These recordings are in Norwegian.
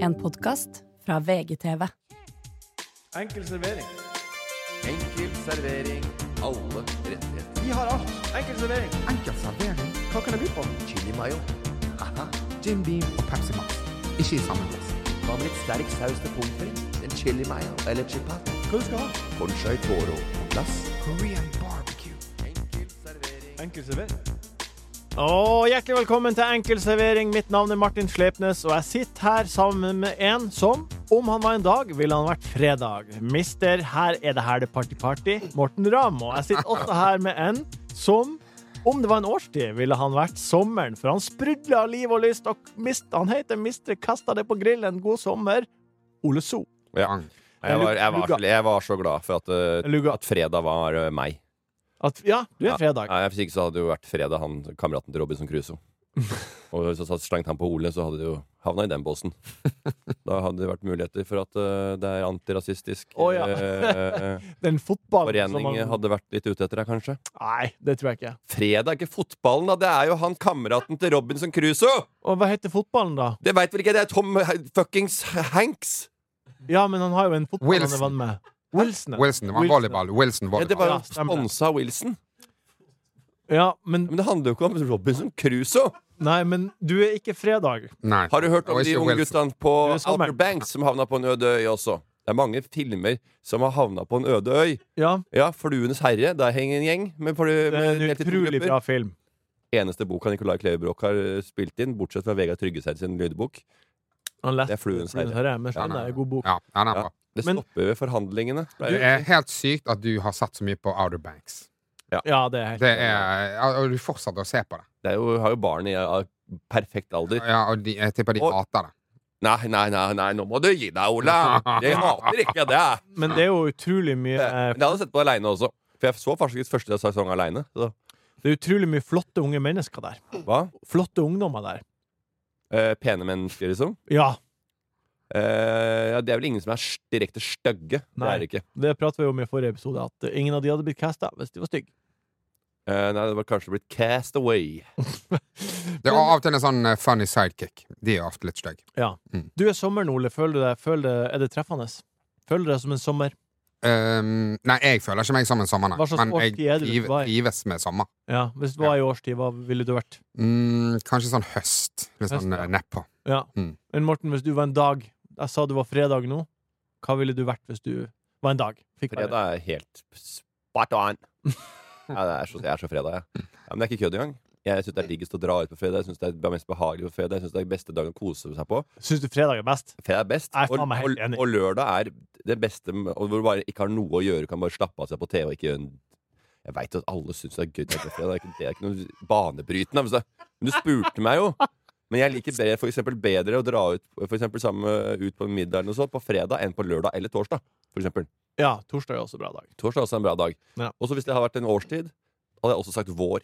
En podkast fra VGTV. Enkel servering. Enkel servering. Alle rettigheter. Vi har alt. Enkel servering. Enkel servering, Hva kan jeg by på? Chili mayo. Haha. Jim Beam og Pepsi Max. Ikke i samme glass. Hva med litt sterk saus til pommes frites? En chili mayo eller chipat? Hva du skal ha? Conchai toro på glass. Korean barbecue. Enkel servering. Enkel servering. Og hjertelig velkommen til Enkel servering. Mitt navn er Martin Slepnes, og jeg sitter her sammen med en som, om han var en dag, ville han vært fredag. Mister Her er det her det party-party, Morten Ramm. Og jeg sitter også her med en som, om det var en årstid, ville han vært sommeren. For han sprudler av liv og lyst, og mist, han heter Mister Kasta det på grillen. God sommer, Ole So. Bang. Jeg var, jeg, var, Lugga. så- jeg var så glad for at, uh, Lugga. at fredag var uh, meg. At, ja, du er fredag. Ja, hvis ikke så hadde det jo vært fredag, han kameraten til Robinson Crusoe. Og så satt slengt han på Ole, så hadde det jo havna i den båsen. Da hadde det vært muligheter for at uh, det er antirasistisk Å, ja. eh, eh, Den fotballen forening som han- hadde vært litt ute etter deg, kanskje. Nei, det tror jeg ikke. Fredag er ikke fotballen, da. Det er jo han kameraten til Robinson Crusoe! Og hva heter fotballen, da? Det veit vel ikke, det er Tom H- fuckings Hanks! Ja, men han har jo en fotball han er Wilson. vant med. Wilson. ja. Wilson, det var Wilson. volleyball. Wilson, Ja, det volleyball. var jo Ja, stemmer det. sponsa av Wilson. Ja, men Men det handler jo ikke om Robinson Crusoe! Nei, men du er ikke fredag. Nei. Har du hørt om Og de ikke unge Wilson. guttene på Det er sommer. Outer Banks som havna på en øde øy også? Det er mange filmer som har havna på en øde øy. Ja, Ja, 'Fluenes herre'. Der henger en gjeng. Med flu, det er en utrolig bra film. Eneste boka Nicolai Kleverbrok har eh, spilt inn, bortsett fra Vegard Tryggeseid sin lydbok. Han leste Det er Fluens herre. men Ja, skjønner, det nei. er en god bok. Ja, den er Ja. bra. Det Men- stopper ved forhandlingene. Det er helt sykt at du har sett så mye på Outer Banks. Ja, det er helt Det er, ja, og du fortsetter å se på det. Det er jo, har jo barn i eh, perfekt alder. Ja, og de, jeg tipper de Og- hater det. Nei, nei, nei, nei, nå må du gi deg, Ola! Jeg hater ikke det! Men det er jo utrolig mye Men eh, jeg hadde sett på det aleine også. For jeg så faktisk første sesong aleine. Det er utrolig mye flotte unge mennesker der. Hva? Flotte ungdommer der. Eh, pene mennesker, liksom. Ja, Eh, ja, det er vel ingen som er s- direkte stygge. Det Nei. er det ikke. det pratet vi om i forrige episode, at ingen av de hadde blitt casta hvis de var stygge. Eh, nei, det var kanskje blitt Cast Away. Det er av og til en sånn eh, funny sidekick. De er ofte litt stygge. Ja. Mm. Du er sommeren, Ole. Føler du deg føler det, Er det treffende? Føler du deg som en sommer? Um, nei, jeg føler ikke meg som en sommer, Hva slags nei. Men jeg årstid er det du trive- var i? trives med sommer. Ja, Hvis det var i årstid, hva ville du vært? Mm, kanskje sånn høst. Litt Høst, sånn ja. eh, nedpå. Ja. Mm. Men Morten, hvis du var en dag Jeg sa du var fredag nå. Hva ville du vært hvis du var en dag? Fikk være. Fredag er helt spot on. Ja, det er så, jeg er så fredag, jeg. Ja, men det er ikke kødd engang. Jeg syns det er diggest å dra ut på fredag. Jeg synes det er mest behagelig på fredag Jeg synes det er beste dagen å kose seg på. Syns du fredag er best? Fredag er best. Jeg er Og, faen meg helt og, enig. og lørdag er det beste med- og hvor du bare ikke har noe å gjøre. Du kan bare slappe av seg på TV og ikke gjøre en Jeg veit at alle syns det er gøy. Det er ikke fredag. Det er ikke- Det er ikke noe banebrytende. altså. Men du spurte meg jo. Men jeg liker bedre, for eksempel, bedre å dra ut for eksempel, sammen, ut på en middag eller noe sånt på fredag enn på lørdag eller torsdag. For eksempel. Ja, torsdag er også en bra dag. Torsdag er også en bra dag. Ja. Og så hvis det har vært en årstid, hadde jeg også sagt vår.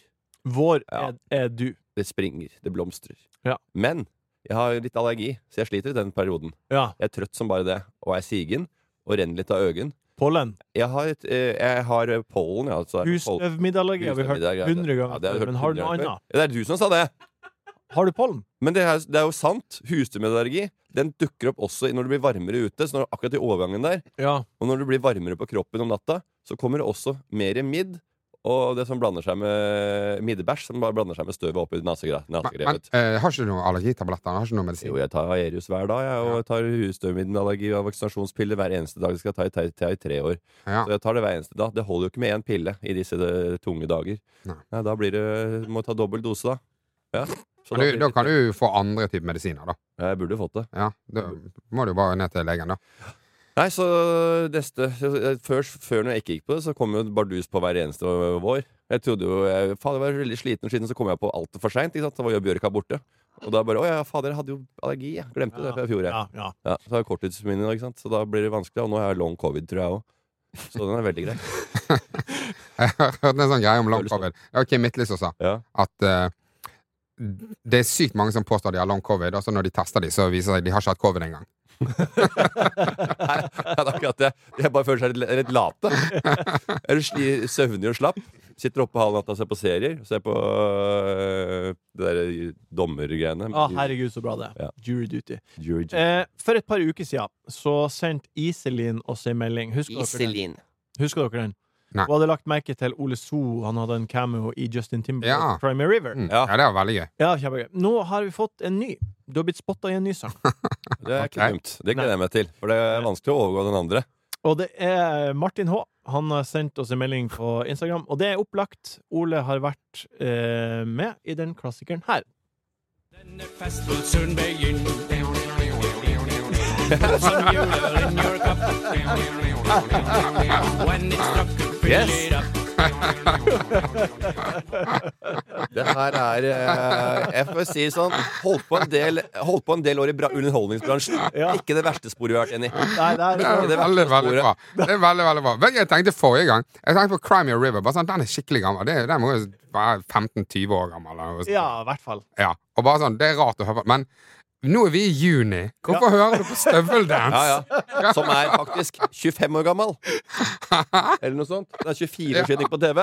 Vår Ja. er, er du. Det springer. Det blomstrer. Ja. Men jeg har litt allergi, så jeg sliter i den perioden. Ja. Jeg er trøtt som bare det, og er sigen og renner litt av øynene. Pollen. Jeg har, et, eh, jeg har eh, pollen, ja. Altså, pollen. Husstøvmiddager har vi hørt Husstøvmiddag, ja, det- hundre ja, ganger det har jeg før. hørt Men har du noe 100 ganger annet? før. Ja, det er du som sa det. Har du pollen? Men det er, det er jo sant. Husstøvmiddelallergi Den dukker opp også når det blir varmere ute. Så når, akkurat i overgangen der Ja. Og når det blir varmere på kroppen om natta, så kommer det også mer midd. Og det som blander seg med middebæsj, som bare blander seg med støvet oppi nasegre- Men, men nasegrevet. eh, har ikke du noen allergitabletter? Har ikke du noe medisin? Jo, jeg tar Aerius hver dag, jeg, og jeg tar husstøvmiddelallergi og vaksinasjonspiller hver eneste dag. Det skal jeg ta i, ta i tre år. Ja. Så jeg tar det hver eneste dag. Det holder jo ikke med én pille i disse eh, tunge dager. Nei. Nei, da blir det Må ta dobbel dose, da. Ja. Så Men du, blir da det- kan du få andre typer medisiner, da. Ja, Jeg burde jo fått det. Ja, da må du bare ned til legen, da. Nei, så neste Før, før når jeg ikke gikk på det, så kom jo bardus på hver eneste vår. Jeg trodde jo jeg, Fader, jeg var veldig sliten og sliten, så kom jeg på altfor seint. Da var jo Bjørka borte. Og da bare Å ja, fader, jeg hadde jo allergi. Jeg glemte det fra i fjor, jeg. Ja, ja. Ja, så har jeg korttidsminne, nå, ikke sant? så da blir det vanskelig. Og nå har jeg long covid, tror jeg òg. Så den er veldig grei. Jeg har hørt en sånn greie om long Føles covid. Det var Kim Midtly som sa Ja. at eh, det er sykt mange som påstår de har long covid, og så når de tester de, så viser det seg at de har ikke hatt covid engang. Nei, det er akkurat det. Jeg bare føler seg litt, litt late. Er du sli- søvnig og slapp? Sitter oppe halv natta og ser på serier. Ser på øh, det der dommergreiene. Å, herregud, så bra det er. Ja. Jury duty. Jury duty. Eh, for et par uker siden så sendte Iselin oss en melding. Husker dere den? Husker dere den? Nei. Hun hadde lagt merke til Ole So. Han hadde en cameo i Justin Timberlake, Ja. Primary River. Mm. Ja. Ja. det var veldig gøy. Ja, kjempegøy. Nå har vi fått en ny. Du har blitt spotta i en ny sang. Det er ikke Ok. dumt. Det gleder jeg meg til. For det er vanskelig å overgå den andre. Og det er Martin H. Han har sendt oss en melding på Instagram, og det er opplagt. Ole har vært eh, med i den klassikeren her. Denne fest vil søren begynne Som juler in your cup When it's struck, fill Yes. it up Det her er eh, Jeg får si sånn Holdt på en del, holdt på en del år i bra, underholdningsbransjen. Ja. Ikke det verste sporet vi har vært inne i. Nei, det er, Det er det verste veldig, veldig bra. sporet. Det er veldig, veldig bra. Vet du, jeg tenkte forrige gang Jeg tenkte på Crime Your River. Bare sånn, Den er skikkelig gammel. Det, den må jo være 15-20 år gammel. Eller noe sånt. ja, i hvert fall. Ja. Og bare sånn, det er rart å høre på. Men nå er vi i juni. Hvorfor hører du på støveldans? Ja, ja. Som er faktisk 25 år gammel. Eller noe sånt. Det er 24 år siden det gikk på TV.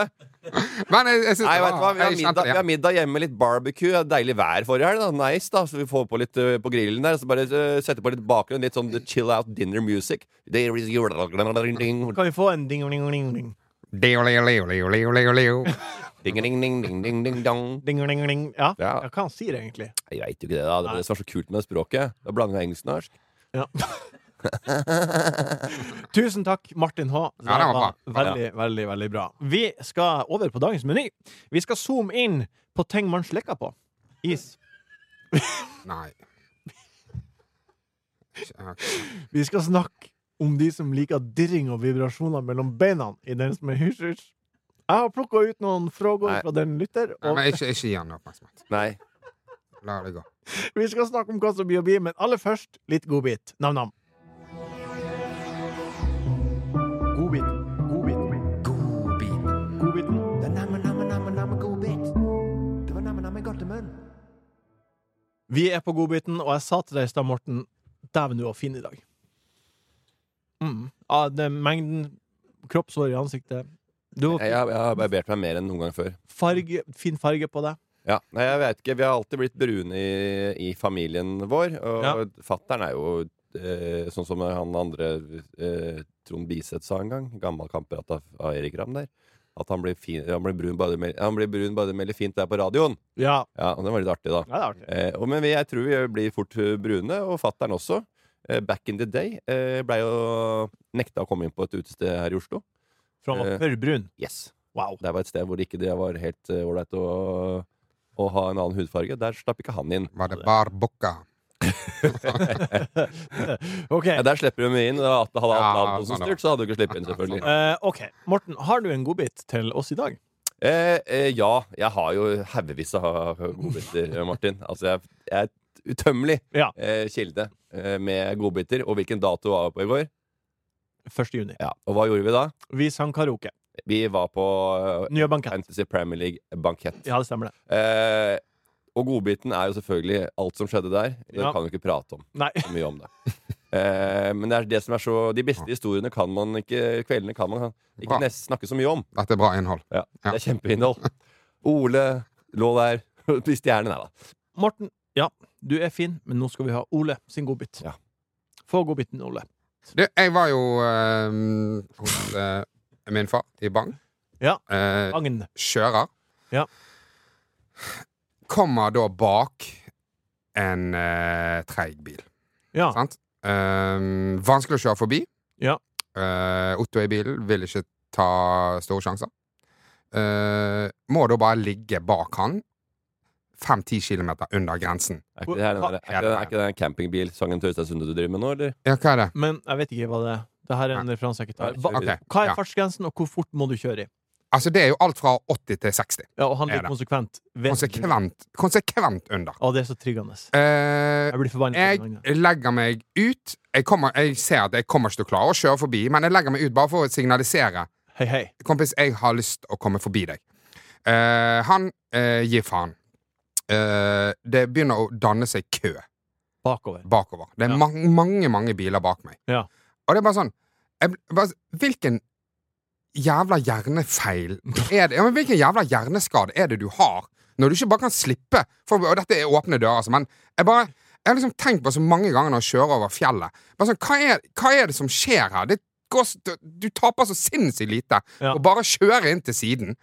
Men jeg, jeg synes Nei, det vet du hva, var vi har, Ah, jeg middag, kjente det vi har igjen. middag hjemme, litt barbecue. det er Deilig vær forrige helg. da. Nice, da. Så vi får på litt eh, på grillen der. Så bare eh, sette på litt bakgrunn. Litt sånn chill out dinner music. There is your- Ding, Kan vi få en ding-ding-ding-ding? Leo, leo, leo, leo, leo, leo, leo. ding, ding, ding, ding, ding, dong. Ding-ding-ding? Ja. ja, Ja. hva han sier egentlig? Jeg veit jo ikke det, da. Det var det som var så kult med det språket. Da blander jeg engelsk og norsk. Ja. Tusen takk, Martin H. Det Ja, det var var bra. veldig, veldig veldig bra. Vi skal over på dagens meny. Vi skal zoome inn på ting man slikker på. Is. Nei. Ok. Vi skal snakke om de som liker dirring og vibrasjoner mellom beina i den som er hysj-hysj. Jeg har plukka ut noen Nei. spørsmål fra den lytter, Nei, og Men ikke, ikke gi han oppmerksomhet. Nei. La det gå. vi skal snakke om hva som blir å bli, men aller først litt godbit. Nam-nam. Godbit. Godbit. Godbiten. Vi er på godbiten, og jeg sa til deg i stad, Morten, dæven, du var fin i dag. Mm. Ja, den mengden kroppshår i ansiktet Du var Jeg, jeg, jeg har barbert meg mer enn noen gang før. farge, fin farge på deg. Ja, nei, jeg vet ikke. Vi har alltid blitt brune i, i familien vår. Og fattern er jo eh, sånn som han andre eh, Trond Biseth sa en gang, gammel kamerat av, av Erik Ramm der, at han blir, fin, han blir brun bare det mel- han blir brun bare det melder fint der på radioen. Ja, Ja, og Det var litt artig, da. det er artig. Eh, og, men vi, jeg tror vi blir fort eh, brune, og fattern også. Eh, back in the day eh, blei jo nekta å komme inn på et utested her i Oslo. For han var Eh. for brun. Yes Wow. Det var et sted hvor ikke det var helt eh, ålreit å, å ha en annen hudfarge. Der slapp ikke han inn. Var det barbukka? OK. Ja, der slipper de mye inn. Det var Atle- Hadde Ja, Atle Antonsen sånn det var. styrt, så hadde du ikke sluppet inn, selvfølgelig. Eh, ok, Morten, har du en godbit til oss i dag? Eh, eh, ja, jeg har jo haugevis av godbiter, Martin. Altså, jeg, jeg er et utømmelig Ja. eh, kilde eh, med godbiter. Og hvilken dato var vi på i går? 1. juni. Ja. Og hva gjorde vi da? Vi sang karaoke. Vi var på eh, Nye bankett. Fantasy Premier League-bankett. Ja, det stemmer det. Eh, og godbiten er jo selvfølgelig alt som skjedde der. Jeg Ja. kan jo ikke prate om Nei. så mye om det. Eh, men det er det som er så De beste historiene kan man ikke Kveldene kan man ikke Bra. nest, snakke så mye om. Dette er bra innhold. Ja, Ja. Det er kjempeinnhold. Ole lå der i stjernen her, da. Morten, ja, du er fin, men nå skal vi ha Ole sin godbit. Ja. Få godbiten, Ole. Du, jeg var jo eh, hos eh, min far i Bang. Ja. Eh, Agn. kjører. Ja. Kommer da bak en eh, treig bil. Ja. Sant? Ehm, vanskelig å kjøre forbi. Ja. Eh, Otto i bilen vil ikke ta store sjanser. Eh, må da bare ligge bak han 5-10 km under grensen. Er ikke det her den, der, er ikke, det- er ikke det den campingbilsangen til Øystein Sunde du driver med nå, eller? Ja, hva er det? Men jeg vet ikke hva det er. Det her er en referanse jeg ikke tar. Hva, Ok, hva er ja. fartsgrensen, og hvor fort må du kjøre i? Altså, det er jo alt fra 80 til 60. Ja, og han Er blir det. konsekvent. Vet- Konsekvent, konsekvent under. Å, det er så triggende. Eh, Jeg blir forbannet. på den andre. Jeg legger meg ut. Jeg, kommer, jeg ser at jeg kommer ikke til å klare å kjøre forbi, men jeg legger meg ut bare for å signalisere. Hei, hei. Kompis, jeg har lyst å komme forbi deg. Eh, han eh, gir faen. Eh, det begynner å danne seg kø Bakover. bakover. Det er Ja. mang- mange, mange biler bak meg. Ja. Og det er bare sånn jeg, bl- bare, Hvilken jævla hjernefeil er det? Ja, men hvilken jævla hjerneskade er det du har, når du ikke bare kan slippe? For, og dette er åpne dører, altså, men jeg bare jeg har liksom tenkt på så mange ganger når jeg kjører over fjellet. Bare sånn, hva, er, hva er det som skjer her? Det går, s- du- du taper så sinnssykt lite. Ja. Og bare kjøre inn til siden.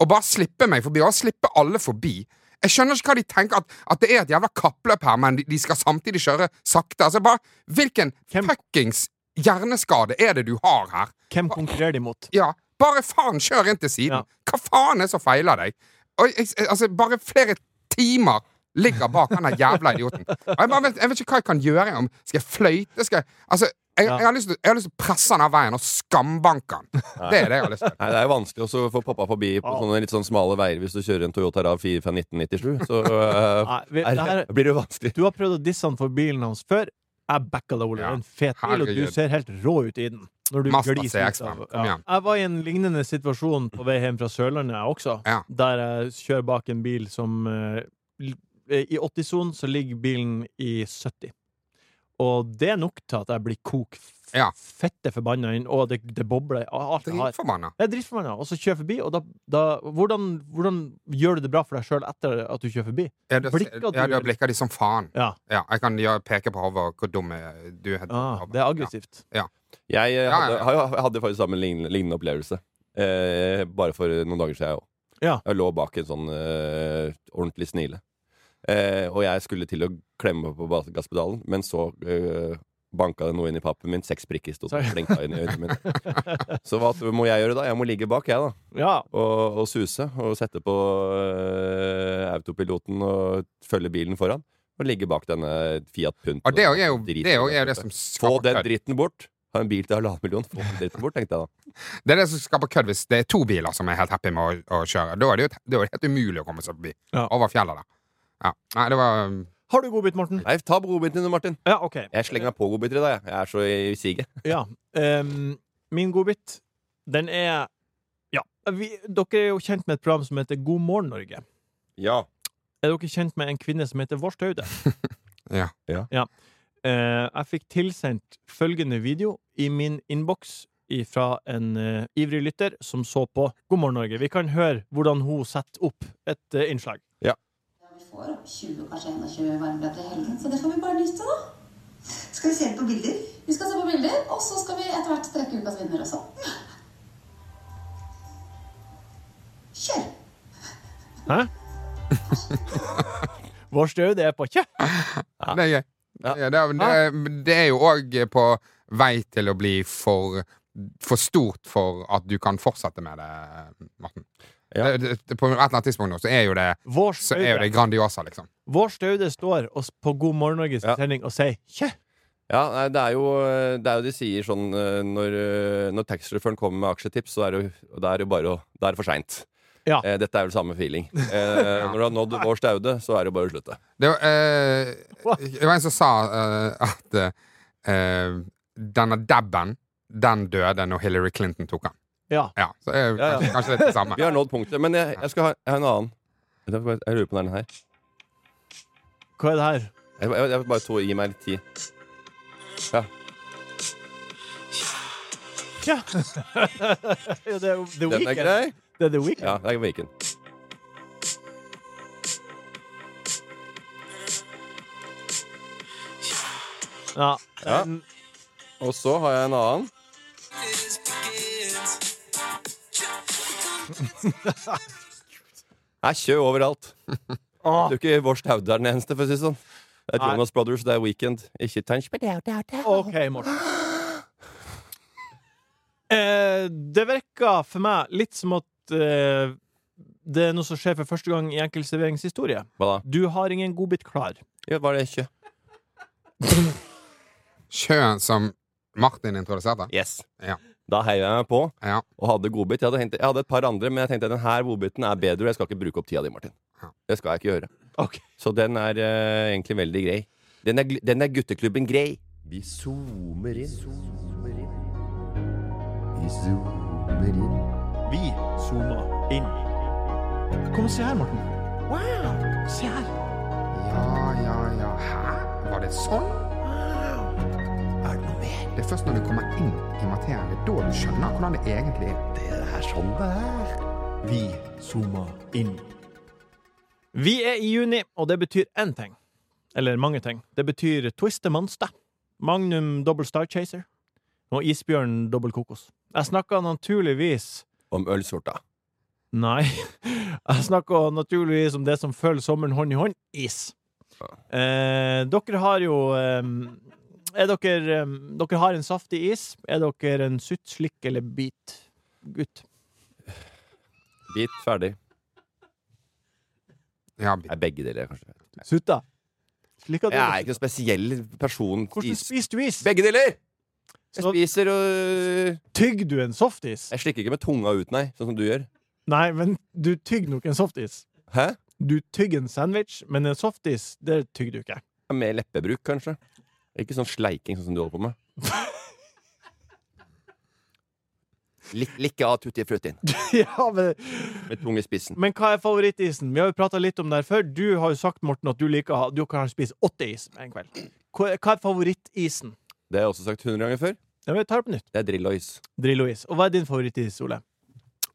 Og bare slippe meg forbi. Og slippe alle forbi. Jeg skjønner ikke hva de tenker, at, at det er et jævla kappløp her, men de, de skal samtidig kjøre sakte. Altså bare, Hvilken Hvem- fuckings hjerneskade er det du har her? Hvem konkurrerer de mot? Ja, bare faen kjør inn til siden. Ja. Hva faen er det som feiler deg? Og, jeg, jeg- altså, bare flere timer ligger bak han der jævla idioten. Og jeg, bare vet, jeg vet ikke hva jeg kan gjøre. Om, skal jeg fløyte? Skal jeg, altså, jeg, Ja. jeg, har lyst til, jeg har lyst til å presse han av veien og skambanke han. Det er det jeg har lyst til. Nei, Det er jo vanskelig også å få poppa forbi på Ja. sånne litt sånn smale veier hvis du kjører en Toyota Rav 4 fra 1997. Så eh, Nei, vi, er, det her, blir det jo vanskelig. du har prøvd å disse han for bilen hans før. Jeg backa deg, Ole. Det Ja. er en fet bil, og du Herregud. ser helt rå ut i den. Når du Mazda gliser ut CX-5. av- Kom ja. igjen. Jeg var i en lignende situasjon på vei hjem fra Sørlandet, jeg også. Ja. Der jeg kjører bak en bil som eh, l- eh, I 80-sonen så ligger bilen i 70. Og det er nok til at jeg blir kok f- Ja. fette forbanna inn, og det, det bobler. og Alt jeg har. Dritforbanna. Jeg er dritforbanna, og så kjører jeg forbi, og da, da hvordan, hvordan gjør du det bra for deg sjøl etter at du kjører forbi? Ja, da- Blikker du, ja, da eller? blikker de som faen. Ja, Ja, jeg kan gjøre- peke på hodet og hvor dum jeg- du er. ah, Det er aggressivt. Jeg eh, Ja, ja, hadde, ja. har jo- hadde faktisk sammen lignende, lignende opplevelse. Eh, bare for noen dager siden, jeg òg. Ja. Jeg lå bak en sånn eh, ordentlig snile. Eh, og jeg skulle til å klemme på bas- gasspedalen, men så eh, banka det noe inn i pappen min. Seks prikker sto og Sorry. flenka inn i øynene mine. Så hva må jeg gjøre da? Jeg må ligge bak, jeg, da. Ja. og, og suse og sette på eh, autopiloten og følge bilen foran. Og ligge bak denne Fiat Punto. Og det òg er jo Driten. det, er jo, er jo det som Få skaper den kødd. dritten bort. Ha en bil til halvannen million. Få den dritten bort, tenkte jeg da. Det er det som skaper kødd hvis det er to biler som er helt happy med å, å kjøre. Da er det jo da er det helt umulig å komme seg forbi. Ja. Over fjellet der. Ja. Nei, det var um, Har du godbit, Morten? Nei, ta på godbiten din, Martin. Ja, OK. Jeg slenger meg på godbiter i dag, jeg. Jeg er så i siget. Ja. ehm, min godbit, den er Ja. Vi, dere er jo kjent med et program som heter God morgen, Norge. Ja. Er dere kjent med en kvinne som heter Vårstaude? Ja. Ja. Eh, jeg fikk tilsendt følgende video i min innboks fra en eh, ivrig lytter som så på God morgen, Norge. Vi kan høre hvordan hun setter opp et eh, innslag. Vi får opp 20, kanskje 21 varmebretter i helgen, så det får vi bare nyte, da. Skal vi se litt på bilder? Vi skal se på bilder, og så skal vi etter hvert trekke ukas vinner også. Kjør! Hæ? Vårstaude er på kjø. Det er gøy. Ja. Det, er, det, er, det er jo òg på vei til å bli for, for stort for at du kan fortsette med det, Morten. Ja. Det, det, på et eller annet tidspunkt nå så er jo det, så er jo det Vårstaude Grandiosa, liksom. Vårstaude står og s- på God morgen, Norges Ja. sending og sier kjø. Ja, nei, det er jo det er jo de sier sånn eh, Når, eh, når taxisjåføren kommer med aksjetips, så er det jo, da er det jo bare å Da er det for seint. Ja. Eh, dette er vel samme feeling. Eh, når du har nådd vår staude, så er det bare å slutte. Det var, eh, det var en som sa eh, at eh, denne dabben, den døde når Hillary Clinton tok den. Ja. Ja, så er jo Ja, ja. kanskje, kanskje det er det samme. Vi har nådd punktet. Men jeg, jeg skal ha, jeg har en annen. Jeg får bare- jeg lurer på om det er den her. Hva er det her? Jeg, jeg, jeg vil bare to, Gi meg litt tid. Ja. Kjø. ja, det er jo The Den er Weeknd. grei. Det er The Weeknd. Ja, det er Viken. Ja. Ja. Den- Og så har jeg en annen. Det er kjø overalt. Åh. Du er ikke vår staude er den eneste, for å si det sånn. Det er Nei. Jonas Brothers, det er Weekend. Ikke tenk på det. OK, Morten. Eh, det virker for meg litt som at eh, det er noe som skjer for første gang i enkeltserveringshistorie. Hva da? Du har ingen godbit klar. Ja, var det kjø? Sjøen som Martin introduserte. Yes. Ja. Da heiv jeg meg på Ja. og hadde godbit. Jeg hadde, hentet, jeg hadde et par andre, men jeg tenkte den her godbiten er bedre, og jeg skal ikke bruke opp tida di, Martin. Ja. Det skal jeg ikke gjøre. Ok. Så den er eh, egentlig veldig grei. Den er, gl- den er gutteklubben grei. Vi zoomer inn. Vi zoomer inn. Vi zoomer inn. Kom og se her, Morten. Wow! Se her. Ja, ja, ja. Hæ? Var det sånn? Er det noe mer? Det er først når du kommer inn i materien, det er da du skjønner hvordan det egentlig er. Det er sånn det er. Vi zoomer inn. Vi er i juni, og det betyr én ting. Eller mange ting. Det betyr Twister Monster, Magnum Double Star Chaser og Isbjørn Dobbel Kokos. Jeg snakker naturligvis Om ølsorta. Nei. Jeg snakker naturligvis om det som følger sommeren hånd i hånd is. Eh, dere har jo eh, Er dere eh, Dere har en saftig is. Er dere en sutt, slikk eller bit? Gutt. Bit ferdig. Ja, Er begge deler, kanskje. Sutta? Slikka Jeg er dere? ikke noen spesiell person. Hvordan Is. spiser du is? Begge deler! Jeg Så- spiser og Tygg du en softis? Jeg slikker ikke med tunga ut, nei, sånn som du gjør. Nei, men du tygg nok en softis. Hæ? Du tygg en sandwich, men en softis, det tygg du ikke. Med leppebruk, kanskje. Ikke sånn sleiking sånn som du holder på med. Lik, likke av tutti fruttien ja, men, med tung i spissen. men hva er favorittisen? Vi har jo prata litt om det her før. Du har jo sagt, Morten, at du liker å ha- Du kan spise åtte is med en kveld. Hva er- hva er favorittisen? Det har jeg også sagt 100 ganger før. Ja, men Vi tar det på nytt. Det er Drillois. Drillo-is. Og hva er din favorittis, Ole?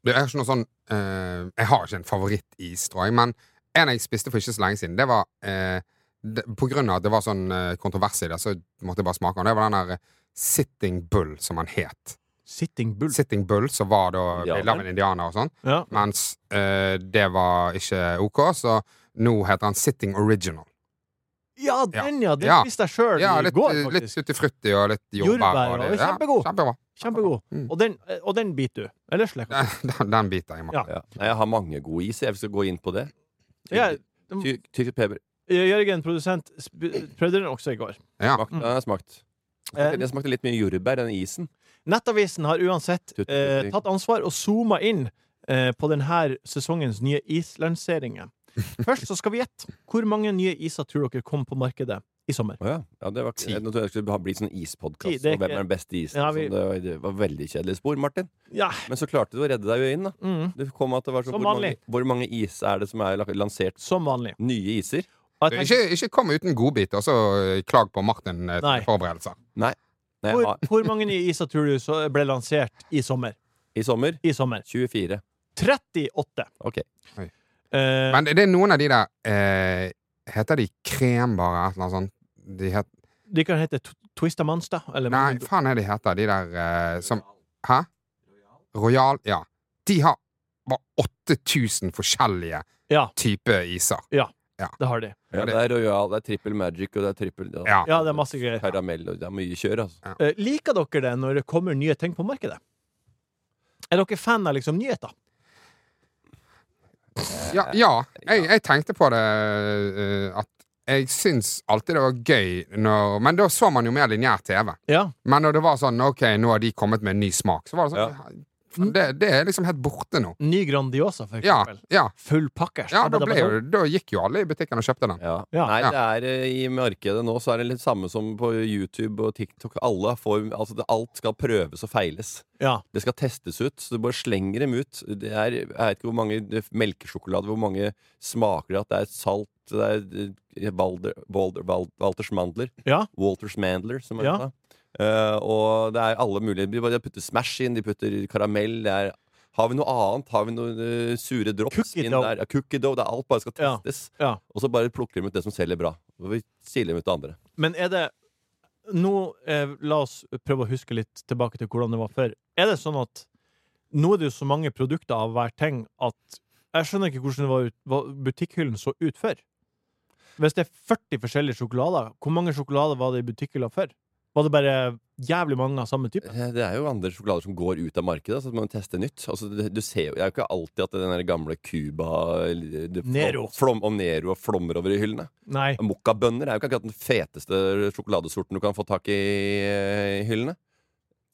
Det er ikke noe sånn eh, Jeg har ikke en favorittis, tror jeg, men en jeg spiste for ikke så lenge siden, det var eh, det, På grunn av at det var sånn eh, kontrovers i det, så måtte jeg bare smake den. Det var den der eh, Sitting Bull, som han het. Sitting bull. Sitting Bull, som var da Indianer. bilde av en indianer og sånn, Ja. mens eh, det var ikke OK, så nå heter han Sitting Original. ja, den, ja! Den Ja. spiste jeg sjøl Ja, i litt, eh, går, litt faktisk. tutti frutti og litt Jordbær jordbær. og det- ja, kjempegod. kjempebra. Kjempegod. Mm. Og den, eh, og den biter du. Eller slikker du. Den, den biter jeg i meg. Ja. Ja. Nei, jeg har mange gode is. Jeg skal gå inn på det. Ja, Ty- Tyrk pepper. Jørgen, produsent, sp- prøvde den også i går. Ja. Smakt, den har jeg smakt. Eh, Den smakte litt mye jordbær, den isen. Nettavisen har uansett Tutti eh, frutti. tatt ansvar og zooma inn eh, på denne sesongens nye islanseringer. Først så skal vi gjette hvor mange nye iser tror dere kom på markedet i sommer. Å ja. ja, det var ikke Ti. Jeg trodde jeg skulle bli sånn Ti, ispodkast. det er Og hvem ikke- er den beste isen? Ja, vi- sånn, det, var, det var veldig kjedelig spor, Martin. Ja, Men så klarte du å redde deg jo inn, da. mm, Det kom at det var sånn, Som hvor, mange, vanlig. hvor mange is er det som er la- lansert? som vanlig. Nye iser? Og Du, jeg Ikke, tenker, ikke kom uten godbit og så eh, klag på Martin eh, Nei. sine forberedelser. Nei, jeg hvor, har, hvor mange nye iser tror du så ble lansert i sommer? I sommer I sommer. 24. 38. Ok. Oi. Eh, Men det, det er noen av de der eh, Heter de krembarer eller noe sånt? De het, de kan hete Tw- Twista Monster. Eller nei, faen er de heter de der eh, som Hæ? Royal? Ja. De har bare 8000 forskjellige Ja, typer iser. det har de. Ja, det er Royal, det er Triple Magic og det er Triple ja. Ja. Ja, det er masse greier. Karamell og det er mye kjør, altså. Eh, liker dere det når det kommer nye ting på markedet? Er dere fan av liksom nyheter? Ja, ja jeg, jeg tenkte på det eh, at jeg syns alltid det var gøy når Men da så man jo mer lineær TV. Ja. Men når det var sånn OK, nå har de kommet med en ny smak, så var det sånn faen, det, det er liksom helt borte nå. Ny Grandiosa, for Ja, eksempel. ja. Full pakke. Ja, da, ble jo, sånn? da gikk jo alle i butikken og kjøpte den. Ja. Ja. Nei, Ja. det er eh, i markedet nå så er det litt samme som på YouTube og TikTok. Alle får, altså det, Alt skal prøves og feiles. Ja. Det skal testes ut, så du bare slenger dem ut. Det er, jeg vet ikke hvor mange det- melkesjokolade, hvor mange smaker det at det er salt, det er eh, Walder, Walder, Wal- Walters mandler. Ja. Walters mandler, som det Ja. heter. Eh, og det er alle mulige De bare putter Smash inn, de putter karamell. Det er, har vi noe annet? Har vi noen eh, sure drops? Cookie inn dough. der? Ja, cookie dough. Det er alt bare skal Ja. testes. Ja. Og så bare plukker de ut det som selger bra. Og vi siler dem ut det andre. Men er det Nå eh, la oss prøve å huske litt tilbake til hvordan det var før. Er det sånn at nå er det jo så mange produkter av hver ting at jeg skjønner ikke hvordan det var ut, hva butikkhyllen så ut før. Hvis det er 40 forskjellige sjokolader, hvor mange sjokolader var det i butikkhylla før? Var det bare jævlig mange av samme type? Eh, Det er jo andre sjokolader som går ut av markedet, så man må teste nytt. Altså, det, du ser jo, det er jo ikke alltid at den der gamle Cuba eller det flom- Nero. Flom, og Nero og flommer over i hyllene. Nei. Moccabønner er jo ikke akkurat den feteste sjokoladesorten du kan få tak i eh, i hyllene.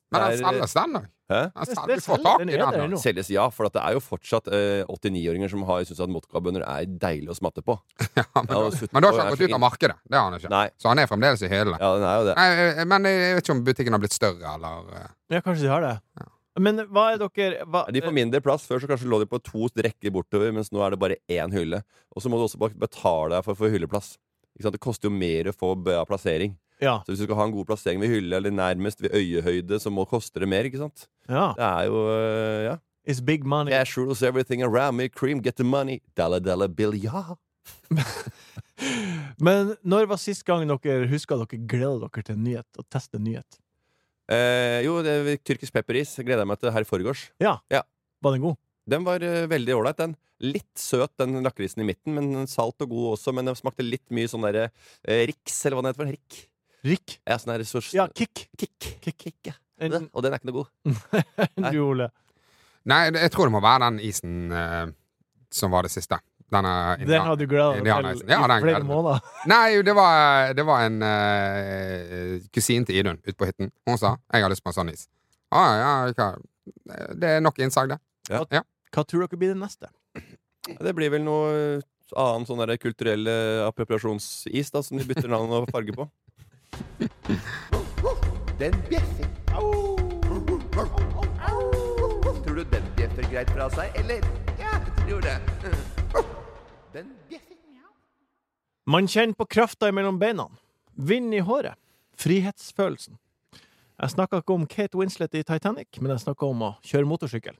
Men Det den er- selges, den òg. Hæ? Du får tak i den er der den. da. ennå. Selges, ja, for at det er jo fortsatt eh, 89-åringer som har syntes at moccabønner er deilig å smatte på. Ja, men, Ja, da- og sutt- men da har og ikke han er gått så ut av markedet. Det har han ikke. Nei. Så han er fremdeles i hyllene. Ja, den er jo det. Nei, eh, Men jeg vet ikke om butikken har blitt større, eller eh, Ja, kanskje de har det. Men hva er dere hva, De får mindre plass. Før så kanskje lå de på to rekker bortover, mens nå er det bare én hylle. Og så må du også bare betale deg for å få hylleplass. Ikke sant? Det koster jo mer å få bra plassering. Ja. Så hvis du skal ha en god plassering ved hylle eller nærmest ved øyehøyde, så må koste det mer, ikke sant? ja. Det er jo øh, ja. It's big money. Cash rules everything around me, cream, get the money, dalla dalla bill, ja. Men når var sist gang dere huska dere gleder dere til en nyhet og teste en nyhet? Eh, jo, det er tyrkisk pepperis gleder jeg meg til her i forgårs. Var den god? Den var eh, veldig ålreit, den. Litt søt, den lakrisen i midten, men den salt og god også. Men den smakte litt mye sånn derre eh, Rix, eller hva den heter for noe. Rick. Rick? Ja, sånn der, så, Ja, Kick. kick. Kick. Kick, ja. Enn Og den er ikke noe god. Nei. du, Ole? Nei, jeg tror det må være den isen eh, som var det siste. Denne Den har du gleda Ja, deg den er- til ja, den i er- flere måneder. Nei, det var, det var en eh, kusin til Idun ute på hytten. Hun sa 'jeg har lyst på en sånn is'. Ah, ja, hva- Det er nok innsag, det. Hva tror dere blir det neste? Det blir vel noe eh, annen sånn der kulturell eh, appropriasjonsis da, som de bytter navn og farge på. Den bjeffer. Tror du den bjeffer greit fra seg, eller? Ja, jeg tror det. Den bjeffer. Man kjenner på krafta mellom beina. Vind i håret. Frihetsfølelsen. Jeg snakka ikke om Kate Winslet i Titanic, men jeg snakka om å kjøre motorsykkel.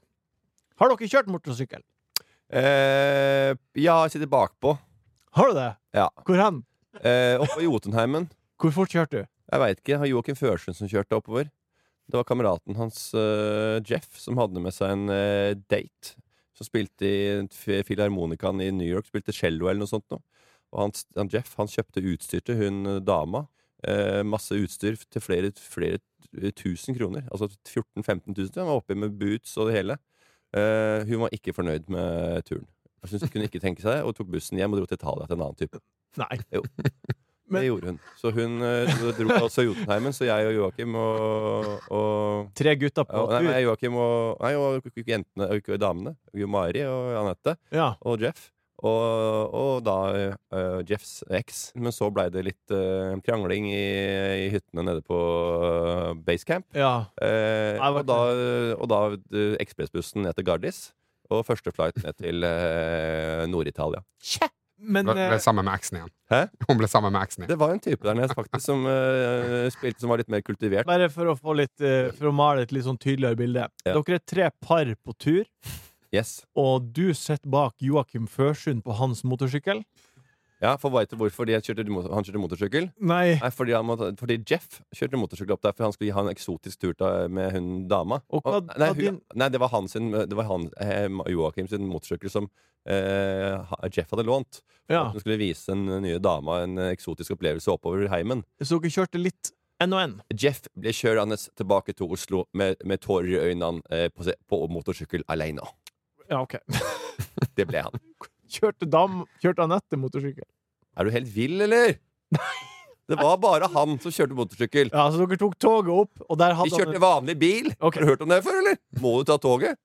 Har dere kjørt motorsykkel? Eh, ja, jeg sitter bakpå. Har du det? Ja. Hvor hen? Eh, oppe i Jotunheimen. Hvor fort kjørte du? Jeg veit ikke. Har Joakim Førsund som kjørte oppover. Det var kameraten hans, eh, Jeff, som hadde med seg en eh, date. Som spilte i f- Filharmonikaen i New York. Spilte cello eller noe sånt noe. Og han, han Jeff han kjøpte utstyr til hun eh, dama. Eh, masse utstyr til flere, flere eh, tusen kroner. Altså 14 000-15 000. Han var oppi med boots og det hele. Eh, hun var ikke fornøyd med turen. Jeg synes Hun kunne ikke tenke seg og tok bussen hjem og dro til Italia til en annen type. Nei. Men- Det gjorde hun. Så hun eh, dro dro til også Jotunheimen, så jeg og Joakim og, og Tre gutter ja, på nei, tur. nei, Joakim og, nei, og jentene og damene. Jo Mari og Anette Ja. og Jeff. Og, og da eh, Jeffs eks. Men så blei det litt eh, krangling i, i hyttene nede på eh, basecamp. ja. Eh, Nei, og det da, var og da eh, ekspressbussen ned til Gardis. Og første flight ned til eh, Nord-Italia. Men Ble, ble eh, sammen med eksen igjen. Hæ? Hun ble sammen med eksen igjen. Det var en type der nede faktisk som eh, spilte som var litt mer kultivert. bare for å, få litt, eh, for å male et litt sånn tydeligere bilde. Ja. Dere er tre par på tur, Yes. og du sitter bak Joakim Førsund på hans motorsykkel. Ja, for vet du hvorfor de kjørte, mot- han kjørte motorsykkel? Nei. Nei, fordi, han måtte, fordi Jeff kjørte motorsykkel opp der, for han skulle ha en eksotisk tur til, med hun dama. Og hva- nei, hva din- nei, det var han sin Det var han, eh, Joakim sin motorsykkel som eh, ha- Jeff hadde lånt. For Ja. At hun skulle vise den nye dama en eh, eksotisk opplevelse oppover heimen. Så dere kjørte litt en og en. Jeff ble kjørende tilbake til Oslo med, med tårer i øynene eh, på, se- på motorsykkel aleine. Ja, OK. Det ble han. Kjørte, dam, kjørte Anette motorsykkel? Er du helt vill, eller? Det var bare han som kjørte motorsykkel. Ja, så dere tok toget opp, og der Vi hadde kjørte han vanlig bil. Ok. Har du hørt om det før, eller? Må du ta toget?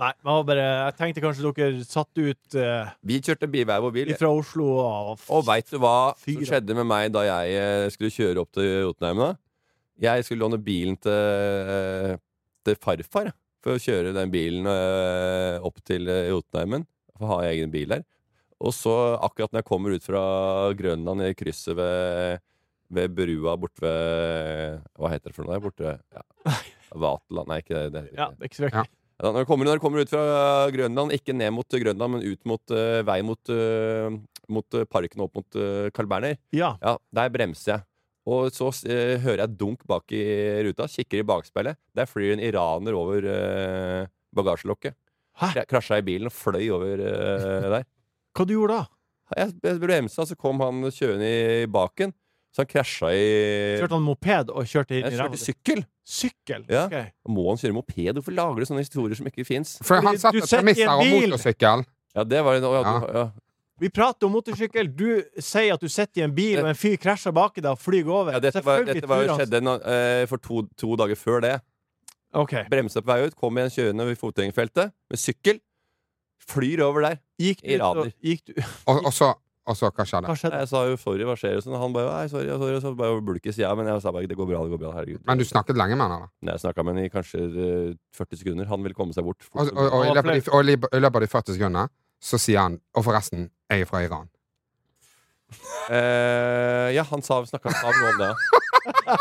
Nei, jeg, var bare, jeg tenkte kanskje dere satt ut eh, Vi kjørte bi- hver vår bil. fra Oslo og Og veit du hva som Fyra. skjedde med meg da jeg eh, skulle kjøre opp til Jotunheim? da? Jeg skulle låne bilen til, eh, til farfar ja, for å kjøre den bilen eh, opp til eh, Jotunheimen. For å ha egen bil der. Og så, akkurat når jeg kommer ut fra Grønland i krysset ved, ved brua borte ved Hva heter det for noe der borte? Ja. Vaterland? Nei, ikke det. det heter Ja, ikke. det. det er ikke så Ja. viktig. Ja, når, du kommer, når du kommer ut fra Grønland, ikke ned mot Grønland, men ut mot eh, vei mot, eh, mot eh, parken og opp mot eh, Carl Berner, Ja. ja, der bremser jeg. Og så eh, hører jeg dunk bak i ruta, kikker i bakspeilet. Der flyr en iraner over eh, bagasjelokket. Hæ? Jeg krasja i bilen og fløy over eh, der. Hva du gjorde da? Jeg, jeg bremsa, så kom han kjørende i baken. Så han krasja i Kjørte han moped og kjørte inn Eh, Jeg i kjørte ræva? i sykkel! Sykkel? Ja. ok. Må han kjøre moped? Hvorfor lager du sånne historier som ikke fins? For han Du- satt du et setter i en premisser om bil. motorsykkel. Ja, det var en, å, ja, Ja. du, ja. Vi prater om motorsykkel. Du sier at du sitter i en bil, og en fyr krasjer baki deg og flyr over. Ja, dette var, Selvfølgelig altså. dette var tror han- skjedde en, eh, for to, to dager før det. Ok. Bremsa på vei ut, kom igjen kjørende ved fotgjengerfeltet med sykkel. Flyr over der. Gikk du, ut Iraner. og- gikk du Og, og, så, og så, hva skjedde? Hva skjedde? Jeg sa jo 'sorry, hva skjer?' og sånn. Han bare 'nei, sorry', ja, sorry. Så bare bulkes jeg, men jeg sa bare 'det går bra', det går bra, herregud. Men du snakket lenge med han, eller? Nei, Jeg snakka med han i kanskje eh, 40 sekunder. Han ville komme seg bort. Og, og, og, i løpet av de, og i løpet- i løpet av de 40 sekundene så sier han Og forresten, jeg er fra Iran. Eh, ja, han sa snakka noe om det. ja.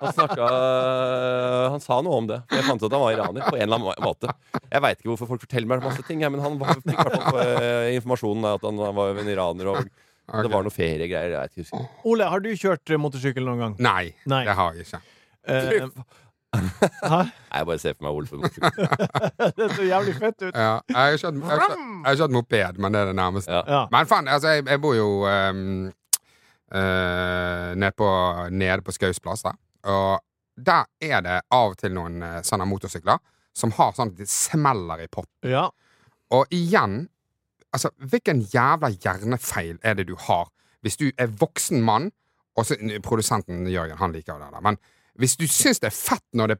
Han snakka Han sa noe om det. For jeg fant ut at han var iraner på en eller annen måte. Jeg veit ikke hvorfor folk forteller meg masse ting, her, men han var, fikk i hvert fall på, eh, informasjonen at han var en iraner, og det var noe feriegreier. Jeg vet ikke. husker. Ole, har du kjørt eh, motorsykkel noen gang? Nei, Nei. det har jeg ikke. Eh, hæ? Nei, Jeg bare ser for meg Ole på motorsykkel. det så jævlig fett ut. Ja, jeg har ikke hatt- jeg har ikke hatt- jeg har ikke hatt moped, men det er det nærmeste. Ja. Ja. Men faen, altså, jeg, jeg bor jo ehm, eh, nede på, nede på Skaus plass, da. Og der er det av og til noen eh, sånne motorsykler som har sånn at de smeller i pop. ja. Og igjen, altså, hvilken jævla hjernefeil er det du har hvis du er voksen mann Og så produsenten Jørgen, han liker jo det der, men hvis du syns det er fett når det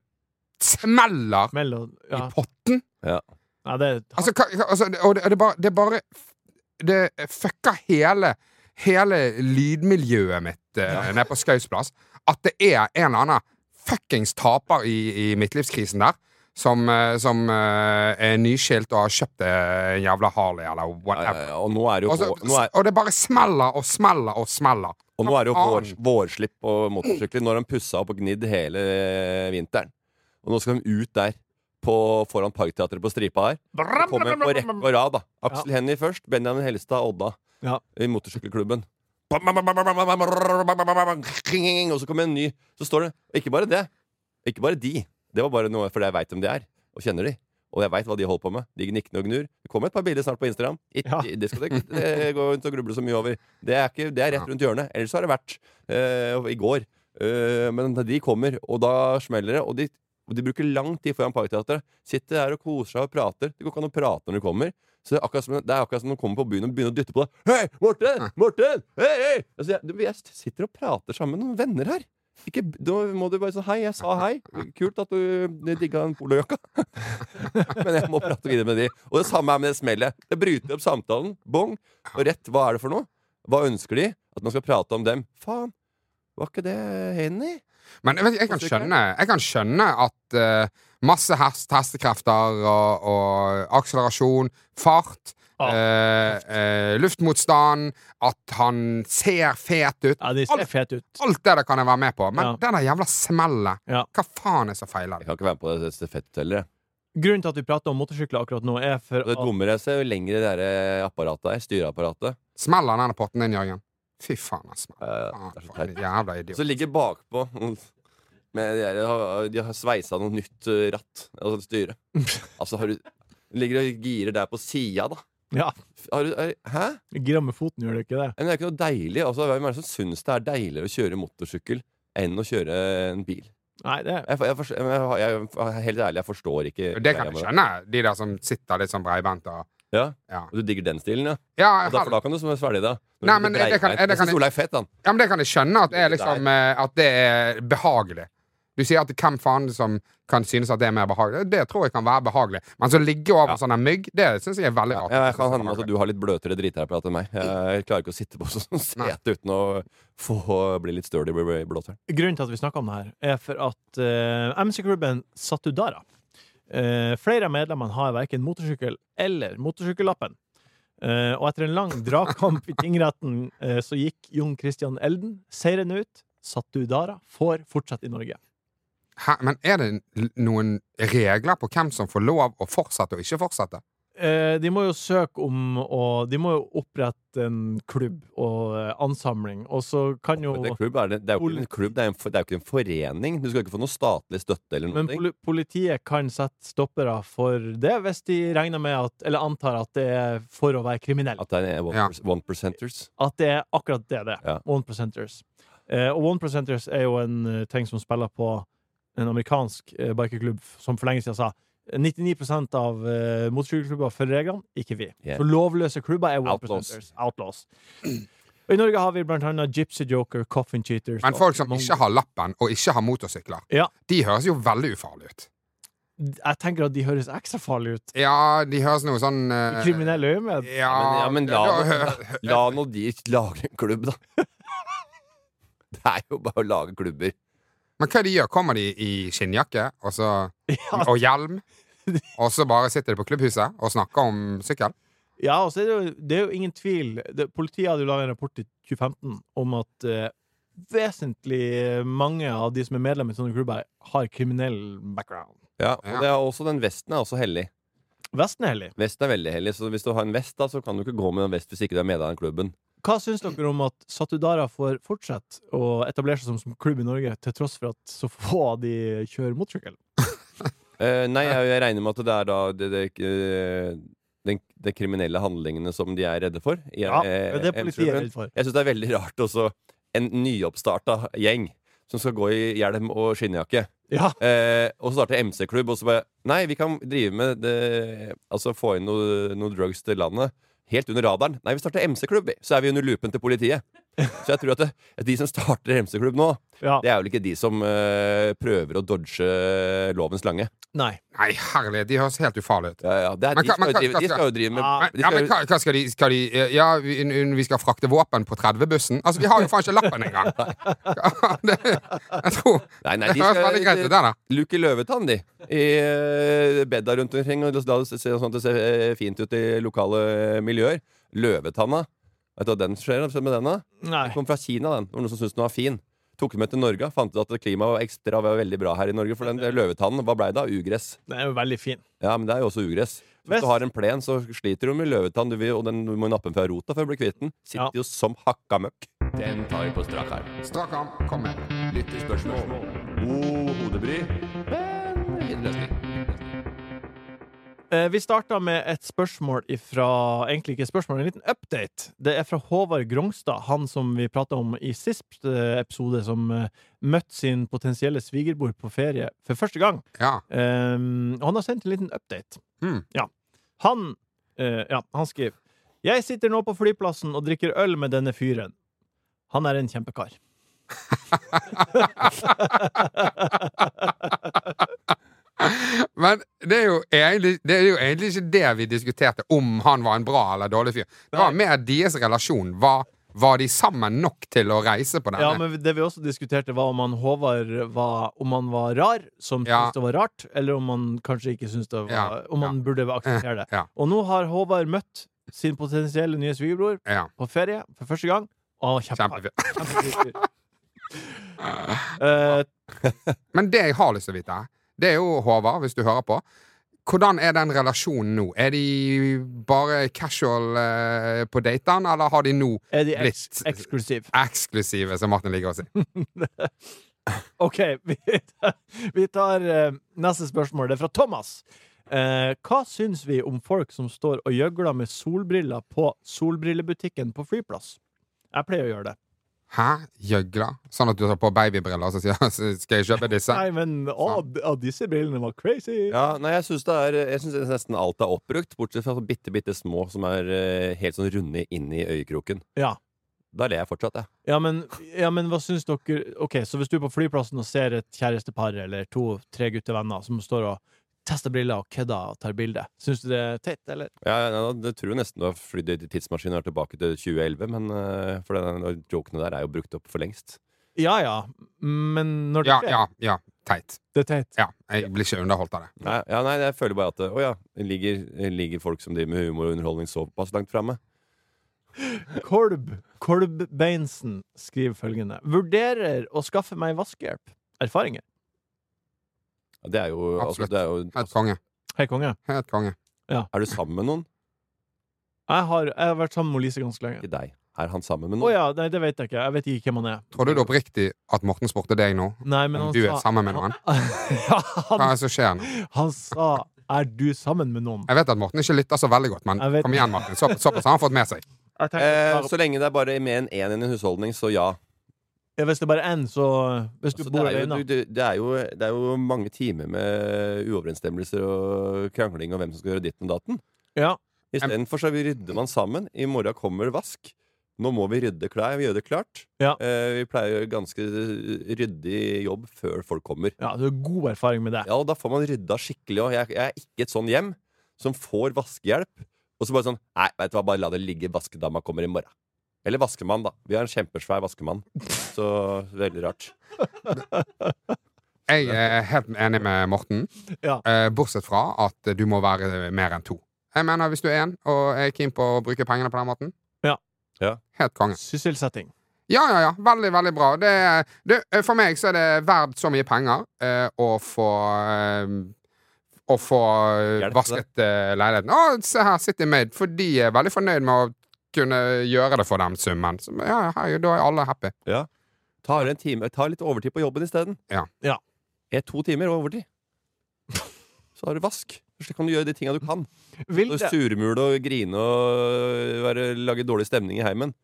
smeller Mellom ja. i potten Nei, det er Altså, hva, hva- altså det- og det, og det, bare, det bare Det fucka hele Hele lydmiljøet mitt eh, nede på Skaus plass. At det er en eller annen fuckings taper i, i midtlivskrisen der, som, eh, som eh, er nyskilt og har kjøpt eh, en jævla Harley eller Ja, ja, whatever. ja. Og nå er det jo, Og, så, hår- nå er, og det bare smeller og smeller og smeller. og nå er det jo Hva vår, faen? vårslipp på motorsykler. Når han pussa opp og gnidd hele eh, vinteren. Og nå skal de ut der på, foran Parkteatret på Stripa her. Det kommer på rekke og rad. da Aksel Hennie først, Benjamin Helstad Odda Ja. i motorsykkelklubben. Og så kommer en ny. Så står det Og ikke bare det. Ikke bare de. Det var bare noe fordi jeg veit hvem de er, og kjenner de. Og jeg veit hva de holder på med. De nikkende og gnur. Det kommer et par bilder snart på Instagram. Ikke, Ja. Det skal dere ikke eh, gå rundt og gruble så mye over. Det er, ikke, det er rett rundt hjørnet. Ellers så har det vært eh, i går. Eh, men de kommer, og da smeller det. Og de, og de bruker lang tid foran Parkteatret. Sitter her og koser seg og prater. Det går ikke an å prate når de kommer. Så Det er akkurat som, det er akkurat som de kommer på byen og begynner å dytte på deg. Hei, Morten! Morten! Hei, hei! Altså, jeg, du, jeg sitter og prater sammen med noen venner her. Ikke, da må du bare si hei. Jeg sa hei. Kult at du digga den polojakka. Men jeg må prate videre med de. Og det samme er med det smellet. Det bryter opp samtalen. Bong. Og rett, hva er det for noe? Hva ønsker de? At man skal prate om dem. Faen, var ikke det Henny? Men jeg, vet, jeg, kan skjønne, jeg kan skjønne at eh, masse hest, hestekrefter og, og akselerasjon, fart Ah, eh, eh, luftmotstand, at han ser fet ut. Ja, de ser fete ut. Alt det der kan jeg være med på, men Ja. det der jævla smellet Ja. Hva faen er så feiler Jeg det? kan ikke være med på det stafettet heller. jeg. Grunnen til at vi prater om motorsykler akkurat nå, er for Og Det at dummere jeg ser, jo lengre det der apparatet er. Styreapparatet. Smeller denne potten din, Jørgen? Fy faen, ass. Ja, ja, Ah, det er så faen, teit. jævla idiot. Så ligger bakpå med de, der, de har sveisa noe nytt eh, ratt. Altså styre. Altså, har du Ligger og girer der på sida, da. Ja, Har du, er, hæ? gira med foten, gjør det ikke det? Men det er ikke noe deilig. Altså, hvem er det som syns det er deiligere å kjøre motorsykkel enn å kjøre en bil? Nei, det er Jeg, for- jeg, forstår- jeg, jeg, jeg, helt ærlig, jeg forstår ikke Det kan jeg skjønne, de der som sitter litt sånn breibent og Ja? Ja. Og du digger den stilen, ja? ja, Og da, for da kan du svelge det. Nei, men det kan- det kan- Solveig Fett, han. Ja, men det kan jeg skjønne at det er, liksom, eh, at det er behagelig. Du sier at hvem faen som kan synes at det er mer behagelig. Det tror jeg kan være behagelig. Men så ligge over en sånn her mygg, det syns jeg er veldig rart. Ja, jeg kan hende med at du har litt bløtere drithæprat enn meg. Jeg klarer ikke å sitte på sånn sete uten å få, bli litt støl i bl- blåteren. Grunnen til at vi snakker om det her, er for at eh, MC-klubben Satudara eh, Flere av medlemmene har verken motorsykkel eller motorsykkellappen. Eh, og etter en lang dragkamp i tingretten eh, så gikk Jon Christian Elden seirende ut. Satudara får fortsette i Norge. Hæ? Men er det l- noen regler på hvem som får lov å fortsette og ikke fortsette? Eh, de må jo søke om å De må jo opprette en klubb og eh, ansamling, og så kan jo Men det, er klubb, er det, det er jo ikke en klubb, det er, en, for- det er jo ikke en forening. Du skal ikke få noe statlig støtte eller Men noe. poli politiet kan sette stoppere for det hvis de regner med at, eller antar at det er for å være kriminell. At det er one, Ja. one percenters. At det er akkurat det det er. Ja. One percenters. Eh, og one percenters er jo en eh, ting som spiller på en amerikansk eh, bikerklubb som for lenge siden sa 99 av eh, motorsykkelklubber følger reglene, ikke vi. Yeah. Så lovløse klubber er one Outlaws. percenters. Outlaws. Og I Norge har vi blant annet Gypsy Joker, Coffin Cheaters Men og folk som mange- ikke har lappen og ikke har motorsykler, Ja. de høres jo veldig ufarlige ut. Jeg tenker at de høres ekstra farlige ut. Ja, de høres noe sånn I eh, kriminelle øyemed. Ja, Men, ja, men la, ja, nå- la nå de lage en klubb, da. Det er jo bare å lage klubber. Men hva de gjør? Kommer de i skinnjakke og, så, og hjelm? Og så bare sitter de på klubbhuset og snakker om sykkel? Ja, og så er det, jo, det er jo ingen tvil det, Politiet hadde jo laget en rapport i 2015 om at eh, vesentlig mange av de som er medlemmer i sånne klubber, har kriminell background. Ja, og det er også den vesten er også hellig. Vesten er hellig. Vesten er veldig hellig, så hvis du har en vest, da, så kan du ikke gå med en vest hvis ikke du er med i den klubben. Hva syns dere om at Satudara får fortsette å etablere seg som- som klubb i Norge, til tross for at så få av de kjører motorsykkel? Eh, nei, jeg, jeg regner med at det er da det, det, eh, den, de kriminelle handlingene som de er redde for. i, Ja, eh, det er politiet M-klubben. redd for. Jeg syns det er veldig rart også en nyoppstarta gjeng som skal gå i hjelm og skinnjakke. Ja, Eh, og så starter MC-klubb, og så bare Nei, vi kan drive med det Altså få inn noe, noe drugs til landet. Helt under radaren. Nei, vi starter MC-klubb, vi. så er vi under loopen til politiet. Så jeg tror at, det, at de som starter MC-klubb nå, ja. det er vel ikke de som eh, prøver å dodge eh, lovens lange. Nei. Nei, herlighet, de høres helt ufarlige ut. Ja, ja, det er, de, Men hva- skal men jo hva- drive, de hva- skal jo drive Ja, med de Ja, skal men jo, hva, hva skal de, skal de eh, Ja, vi, n- vi skal frakte våpen på 30-bussen. Altså, de har jo faen ikke lappen engang! Ja, det, jeg tror Nei, nei, Det de høres veldig greit ut, det skal eh, der. luke løvetann, de. I eh, bedda rundt omkring. Og la det se sånn at det ser eh, fint ut i lokale eh, miljøer. Løvetanna. Vet du hva den skjer med den, da? Nei. Kom fra Kina, den. Det var noen som syntes den var fin. Tok den med til Norge. Fant ut at klimaet var ekstra var veldig bra her i Norge. For den der løvetannen, hva blei det av? Ugress. Den er jo veldig fin. Ja, men det er jo også ugress. Så Vest- Hvis du har en plen, så sliter du med løvetann, du vil, og den, du må nappe den fra rota for å bli kvitt den. Sitter Ja. jo som hakka møkk. Den tar vi på strak arm. Strak arm, kom med. Lyttespørsmål. God hodebry. Men Eh, Vi starta med et spørsmål ifra Egentlig ikke et spørsmål, en liten update. Det er fra Håvard Grongstad, han som vi prata om i sist eh, episode, som eh, møtte sin potensielle svigerbror på ferie for første gang. Ja. Um, og han har sendt en liten update. Hmm. Ja. Han, eh, ja, han skriver Jeg sitter nå på flyplassen og drikker øl med denne fyren. Han er en kjempekar. Men det er, jo egentlig, det er jo egentlig ikke det vi diskuterte, om han var en bra eller dårlig fyr. Det var mer deres relasjon. Var, var de sammen nok til å reise på denne? Ja, men det vi også diskuterte, var om han Håvard var, om han var rar, som Ja. syntes det var rart, eller om han kanskje ikke syntes det var Ja, Om han ja. burde akseptere det. Ja. Og nå har Håvard møtt sin potensielle nye svigerbror Ja, på ferie for første gang. Å, kjempe, kjempefint. kjempefint. Eh, Men det jeg har lyst til å vite, det er jo, Håvard, hvis du hører på hvordan er den relasjonen nå? Er de bare casual eh, på datene, eller har de nå er de eks Litt. eksklusive? eksklusive, som Martin liker å si? OK, vi tar, vi tar eh, neste spørsmål. Det er fra Thomas. Eh, hva syns vi om folk som står og gjøgler med solbriller på solbrillebutikken på flyplass? Jeg pleier å gjøre det. Hæ? Gjøgla? Sånn at du tar på babybriller og så sier skal jeg kjøpe disse? Nei, men å, d- å, disse brillene var crazy! Ja, nei, jeg syns det er Jeg synes nesten alt er oppbrukt, bortsett fra så bitte, bitte små som er eh, helt sånn runde inn i øyekroken. Ja. Da ler jeg fortsatt, jeg. Ja, men, ja, men hva syns dere OK, så hvis du er på flyplassen og ser et kjærestepar eller to-tre guttevenner som står og tester briller og kødder og tar bilde, syns du det er teit, eller? Ja, ja, ja, det tror jeg nesten du har flydd i tidsmaskinen og er tilbake til 2011, men eh, for den, jokene der er jo brukt opp for lengst. Ja ja, men når det Ja, skjer, ja, ja. Teit. det er teit. Ja, jeg blir ikke underholdt av det. Nei, ja, nei, jeg føler bare at eh, Å ja, ligger, ligger folk som driver med humor og underholdning såpass langt framme? Kolb Kolbbeinsen skriver følgende Vurderer å skaffe meg vaskehjelp. Erfaringer. Ja, det er jo, altså, Absolutt. det er, jo Helt altså, konge. Hei, konge. Helt konge. er du sammen med noen? Jeg har, jeg har vært sammen med Lise ganske lenge. Ikke deg. Er han sammen med Å noen? ja, nei, det vet jeg ikke. Jeg vet ikke hvem han er. Tror du det er oppriktig at Morten spurte deg nå? Nei, men Om han du er sa- sammen med noen? ja, Hva han, er det som skjer nå? han sa 'er du sammen med noen'? Jeg vet at Morten ikke lytter så veldig godt, men Jeg vet- kom igjen, Martin. Så, såpass har han fått med seg. Jeg Eh, tenker, så lenge det er bare med en én i en husholdning, så ja. ja, hvis det bare er én, så Hvis du Altså, det, bor er jo, alene. du, du- det, er jo, det er jo mange timer med uoverensstemmelser og krangling og hvem som skal gjøre ditten og datten. Ja. Istedenfor så rydder man sammen. I morgen kommer det vask. Nå må vi rydde klær. Vi gjør det klart. Ja. Eh, vi pleier å gjøre ganske ryddig jobb før folk kommer. ja, du har god erfaring med det. Ja, og da får man rydda skikkelig òg. Jeg, jeg er ikke et sånn hjem som får vaskehjelp, og så bare sånn Nei, vet du hva, bare la det ligge. Vaskedama kommer i morgen. Eller vaskemann, da. Vi har en kjempesvær vaskemann. Så veldig rart. Jeg er helt enig med Morten, Ja. eh, bortsett fra at du må være mer enn to. Jeg mener, hvis du er én og er keen på å bruke pengene på den måten Ja. Ja. Helt konge. Sysselsetting. Ja, ja, ja. Veldig, veldig bra. Det, det, for meg så er det verdt så mye penger eh, å få eh, Å få Hjelp til vasket eh, leiligheten. Å, se her, City Made. For de er veldig fornøyd med å kunne gjøre det for den summen. Så, ja, ja, herregud, da er alle happy. Ja. Ta, en time, ta litt overtid på jobben isteden. Ja. Ja. Er to timer overtid. Så har du vask. Så kan du gjøre de tinga du kan. Vil Så det- Surmule og grine og være, lage dårlig stemning i heimen.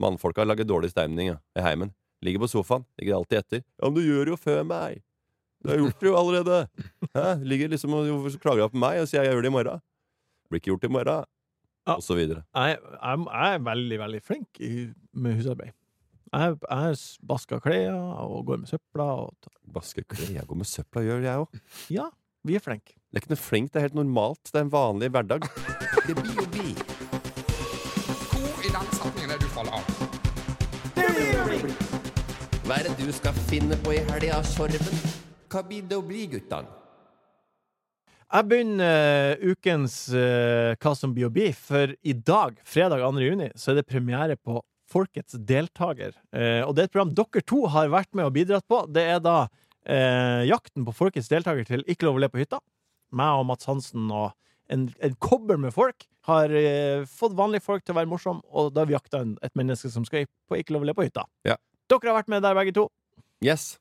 Mannfolka lager dårlig stemning ja, i heimen. Ligger på sofaen, ligger alltid etter. 'Ja, men du gjør jo før meg.' 'Du har gjort det jo allerede.' Hæ? Ligger liksom og hvorfor klager du på meg og sier 'jeg gjør det i morgen'. Blir ikke gjort i morgen. Ja. Og så videre. Jeg, jeg, jeg er veldig, veldig flink i, med husarbeid. Jeg, jeg vasker klær og går med søpla. Og ta. Vaske klær. Jeg går med søpla, gjør jeg òg. Ja, vi er flinke. Det er ikke noe flink, det er helt normalt. Det er en vanlig hverdag. Det blir jo bi. Hvor i den setningen er det du faller av? Hva er det du skal finne på i helga, Sorven? Hva blir det å bli, guttene? Jeg begynner eh, ukens eh, Hva som blir å bli, for i dag, fredag 2. juni, så er det premiere på Folkets deltaker. Eh, og det er et program dere to har vært med og bidratt på. Det er da eh, jakten på Folkets deltaker til Ikke lov å le på hytta. Meg og Mats Hansen og en, en kobber med folk har eh, fått vanlige folk til å være morsomme, og da har vi jakta en, et menneske som skal på Ikke lov å le på hytta. Ja. Dere har vært med der, begge to. Yes.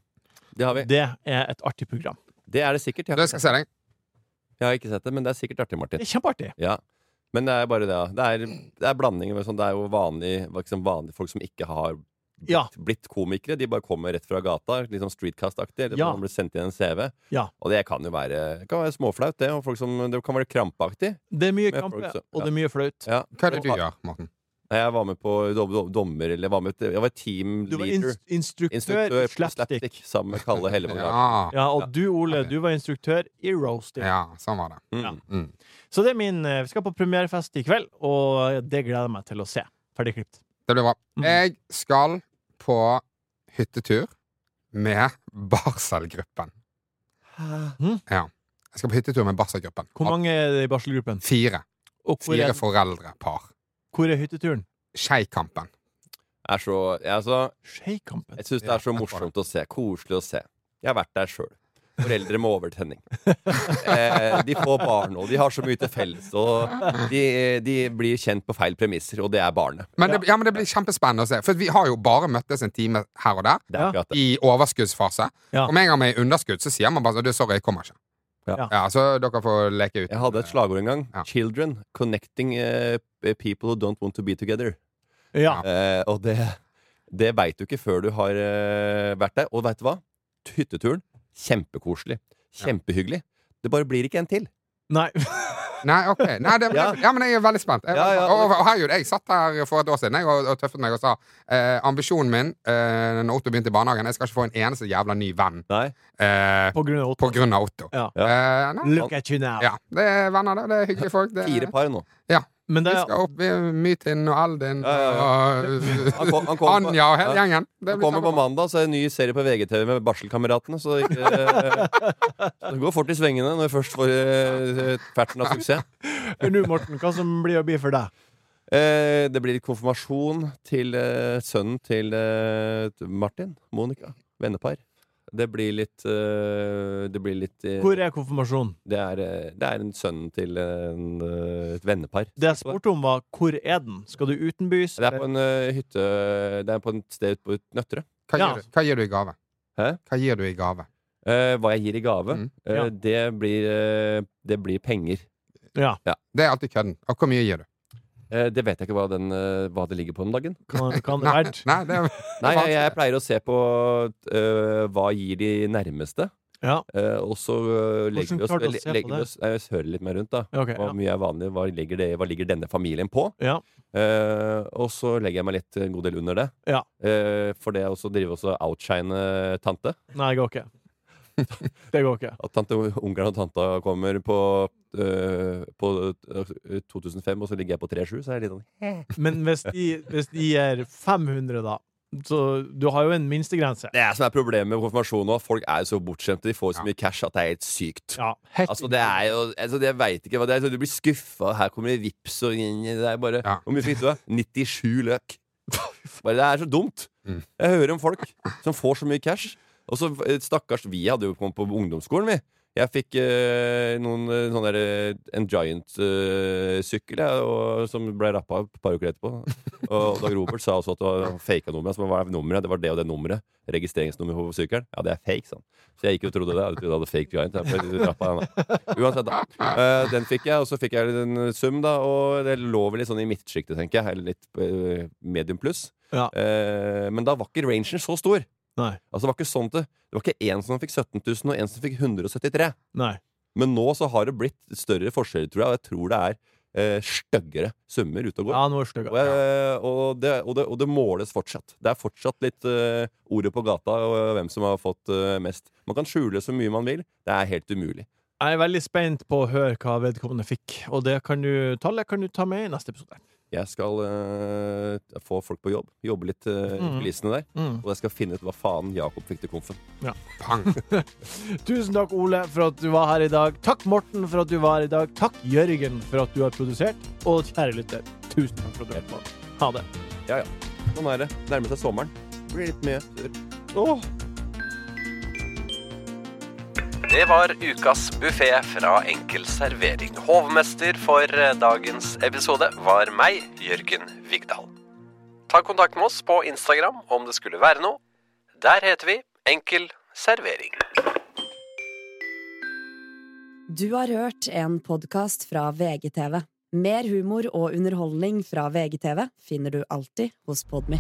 Det har vi. Det er et artig program. Det er det sikkert. Jeg Du, har, jeg ikke skal sett. se deg. jeg har ikke sett det, men det er sikkert artig, Det Martin. er kjempeartig. Ja. Men det er bare det, ja. Det er, det er blandinger. med Sånn, det er jo vanlig, liksom vanlige folk som ikke har blitt, Ja. blitt komikere. De bare kommer rett fra gata, litt sånn streetcast-aktig. Eller Ja. man blir sendt inn en CV. Ja. Og det kan jo være, det kan være småflaut, det. Og folk som, det kan være krampaktig. Det er mye Med krampe, folk som- og ja. det er mye flaut. Ja. Hva er det du gjør, Morten? Nei, Jeg var med på dom, dom, dommer, eller jeg var med Jeg var team Du var leader. inst instruktør, Instruktør i på slapstick. slapstick sammen med Kalle Hellevåg. Ja, Ja, og du, Ole, Ok. du var instruktør i roasting. ja, sånn var det. Mm. Mm. Så det er min eh, Vi skal på premierefest i kveld, og det gleder jeg meg til å se. Ferdig klipt. Det blir bra. Mm. Jeg skal på hyttetur med barselgruppen. Mm. Hm? Jeg skal på hyttetur med barselgruppen. Hvor mange er det i barselgruppen? Fire. Og hvor Fire er, foreldrepar. hvor er hytteturen? Skeikampen. Er så, ja, altså, Skeikampen. Jeg syns det er så Ja, morsomt å se. Koselig å se. Jeg har vært der sjøl. Foreldre med overtenning. Eh, de får barn, og de har så mye til felles. Og de, de blir kjent på feil premisser, og det er barnet. Men det, ja, men det blir kjempespennende å se. For vi har jo bare møttes en time her og der. Det er Ja. akkurat det. I overskuddsfase. Ja. Og med en gang vi er i underskudd, så sier man bare sånn Du, sorry, jeg kommer ikke. Ja. Ja, Så dere får leke ut. Jeg hadde et slagord en gang. Ja. 'Children connecting eh, people who don't want to be together'. Ja. Eh, og det, det veit du ikke før du har eh, vært der. Og veit du hva? Hytteturen kjempekoselig. Kjempehyggelig. Det bare blir ikke en til. Nei. Nei, ok. Nei, det, Ja. ja, men jeg er veldig spent. Jeg, Ja, ja. Og, og, og herregud, jeg satt her for et år siden jeg, og, og tøffet meg og sa eh, ambisjonen min eh, når Otto begynte i barnehagen Jeg skal ikke få en eneste jævla ny venn Nei. eh, På grunn av Otto. på grunn av Otto. Ja. Eh, nei, Look at you now. ja. Det er venner, det. Det er hyggelige folk. Det, Fire par nå. Men det vi er skal opp i Mytin og Aldin Ja, ja, og Han kom, han kom på- Anja Ja. og hele gjengen. Det Det blir kommer på kjempebra. mandag, så er det en ny serie på VGTV med Barselkameratene. Så ikke, eh, det går fort i svingene når vi først får eh, ferten av suksess. nå, Morten, hva som blir å bli for deg? Eh, det blir konfirmasjon til eh, sønnen til eh, Martin. Monica. Vennepar. Det blir litt eh, Det blir litt eh, Hvor er konfirmasjonen? det, er, eh, det er en sønnen til en, eh, et vennepar. Det jeg spurte om, var hvor er den? Skal du utenbys? Det er på en eh, hytte Det er på et sted ute på Nøtterøy. Hva, Ja. gir du, hva gir du i gave? Hæ? Hva gir du i gave? Eh, hva jeg gir i gave, Mm. eh, Ja. det, blir, eh, det blir penger. Ja. Det er alltid kødden. Og hvor mye gir du? Eh, Det vet jeg ikke hva, den, eh, hva det ligger på om dagen. Kan, kan det Nei, være? nei, det er, Nei, jeg, jeg pleier å se på eh, hva gir de nærmeste. Ja. Eh, og så eh, Hvordan legger vi oss, klarer du å le- se på legger vi det? oss Nei, Jeg hører litt mer rundt, da. Ja, ok, Hva ja. mye er vanlig, hva ligger, det, hva ligger denne familien på? Ja. Eh, og så legger jeg meg litt en god del under det. Ja. Eh, for det er også driver også outshine eh, tante. Nei, det går ikke. Det går ikke. At tante Ungarn og tanta kommer på, eh, på eh, 2005, og så ligger jeg på 37, så er det litt sånn Men hvis de, hvis de gir 500, da Så du har jo en minstegrense. Det er som er problemet med konfirmasjon nå. Folk er jo så bortskjemte. De får så mye cash at det er helt sykt. Ja, helt Altså, det er jo altså, Jeg veit ikke hva det er. Så du blir skuffa. Her kommer det vips og inn i- Det er bare Ja. Hvor mye fikk du? da? 97 løk. Bare, det er så dumt. Jeg hører om folk som får så mye cash. Og så eh, stakkars Vi hadde jo kommet på ungdomsskolen, vi. Jeg fikk eh, noen eh, sånne der, eh, en eh, Giant-sykkel som ble rappa et par uker etterpå. Og Dag Robert sa også at det var faka nummer. Altså, hva er nummeret? Det var det og det nummeret. Registreringsnummer på sykkelen. Ja, det er fake, sa han. Så jeg gikk jo og trodde det. Jeg trodde jeg hadde fake Giant. Jeg ble rappet, av han, da. Uansett, da. Eh, den fikk jeg, og så fikk jeg en sum, da. Og det lå vel litt sånn i midtsjiktet, tenker jeg. Eller litt eh, medium pluss. Ja. Eh, men da var ikke rangen så stor. Nei. Altså Det var ikke sånn det Det var ikke én som fikk 17 000, og én som fikk 173 Nei. Men nå så har det blitt større forskjeller, tror jeg. Og jeg tror det er eh, styggere summer ute og går. Ja, nå er det stygg. Og, jeg, og, det, og, det, og det måles fortsatt. Det er fortsatt litt eh, ordet på gata og hvem som har fått eh, mest. Man kan skjule så mye man vil. Det er helt umulig. Jeg er veldig spent på å høre hva vedkommende fikk, og det kan du, tallet kan du ta med i neste episode. Jeg skal eh, få folk på jobb. Jobbe litt eh, i Mm. kulissene der. Mm. Og jeg skal finne ut hva faen Jakob fikk til komfen. Pang. Tusen takk, Ole, for at du var her i dag. Takk, Morten, for at du var her i dag. Takk, Jørgen, for at du har produsert. Og kjære lytter, tusen takk for at du hørte på. Ha det. Ja, ja. Sånn er det. Nærmer seg sommeren. Blir litt mye. Det var ukas buffé fra Enkel servering. Hovmester for eh, dagens episode var meg, Jørgen Vigdal. Ta kontakt med oss på Instagram om det skulle være noe. Der heter vi Enkel servering. Du har hørt en podkast fra VGTV. Mer humor og underholdning fra VGTV finner du alltid hos Podmy.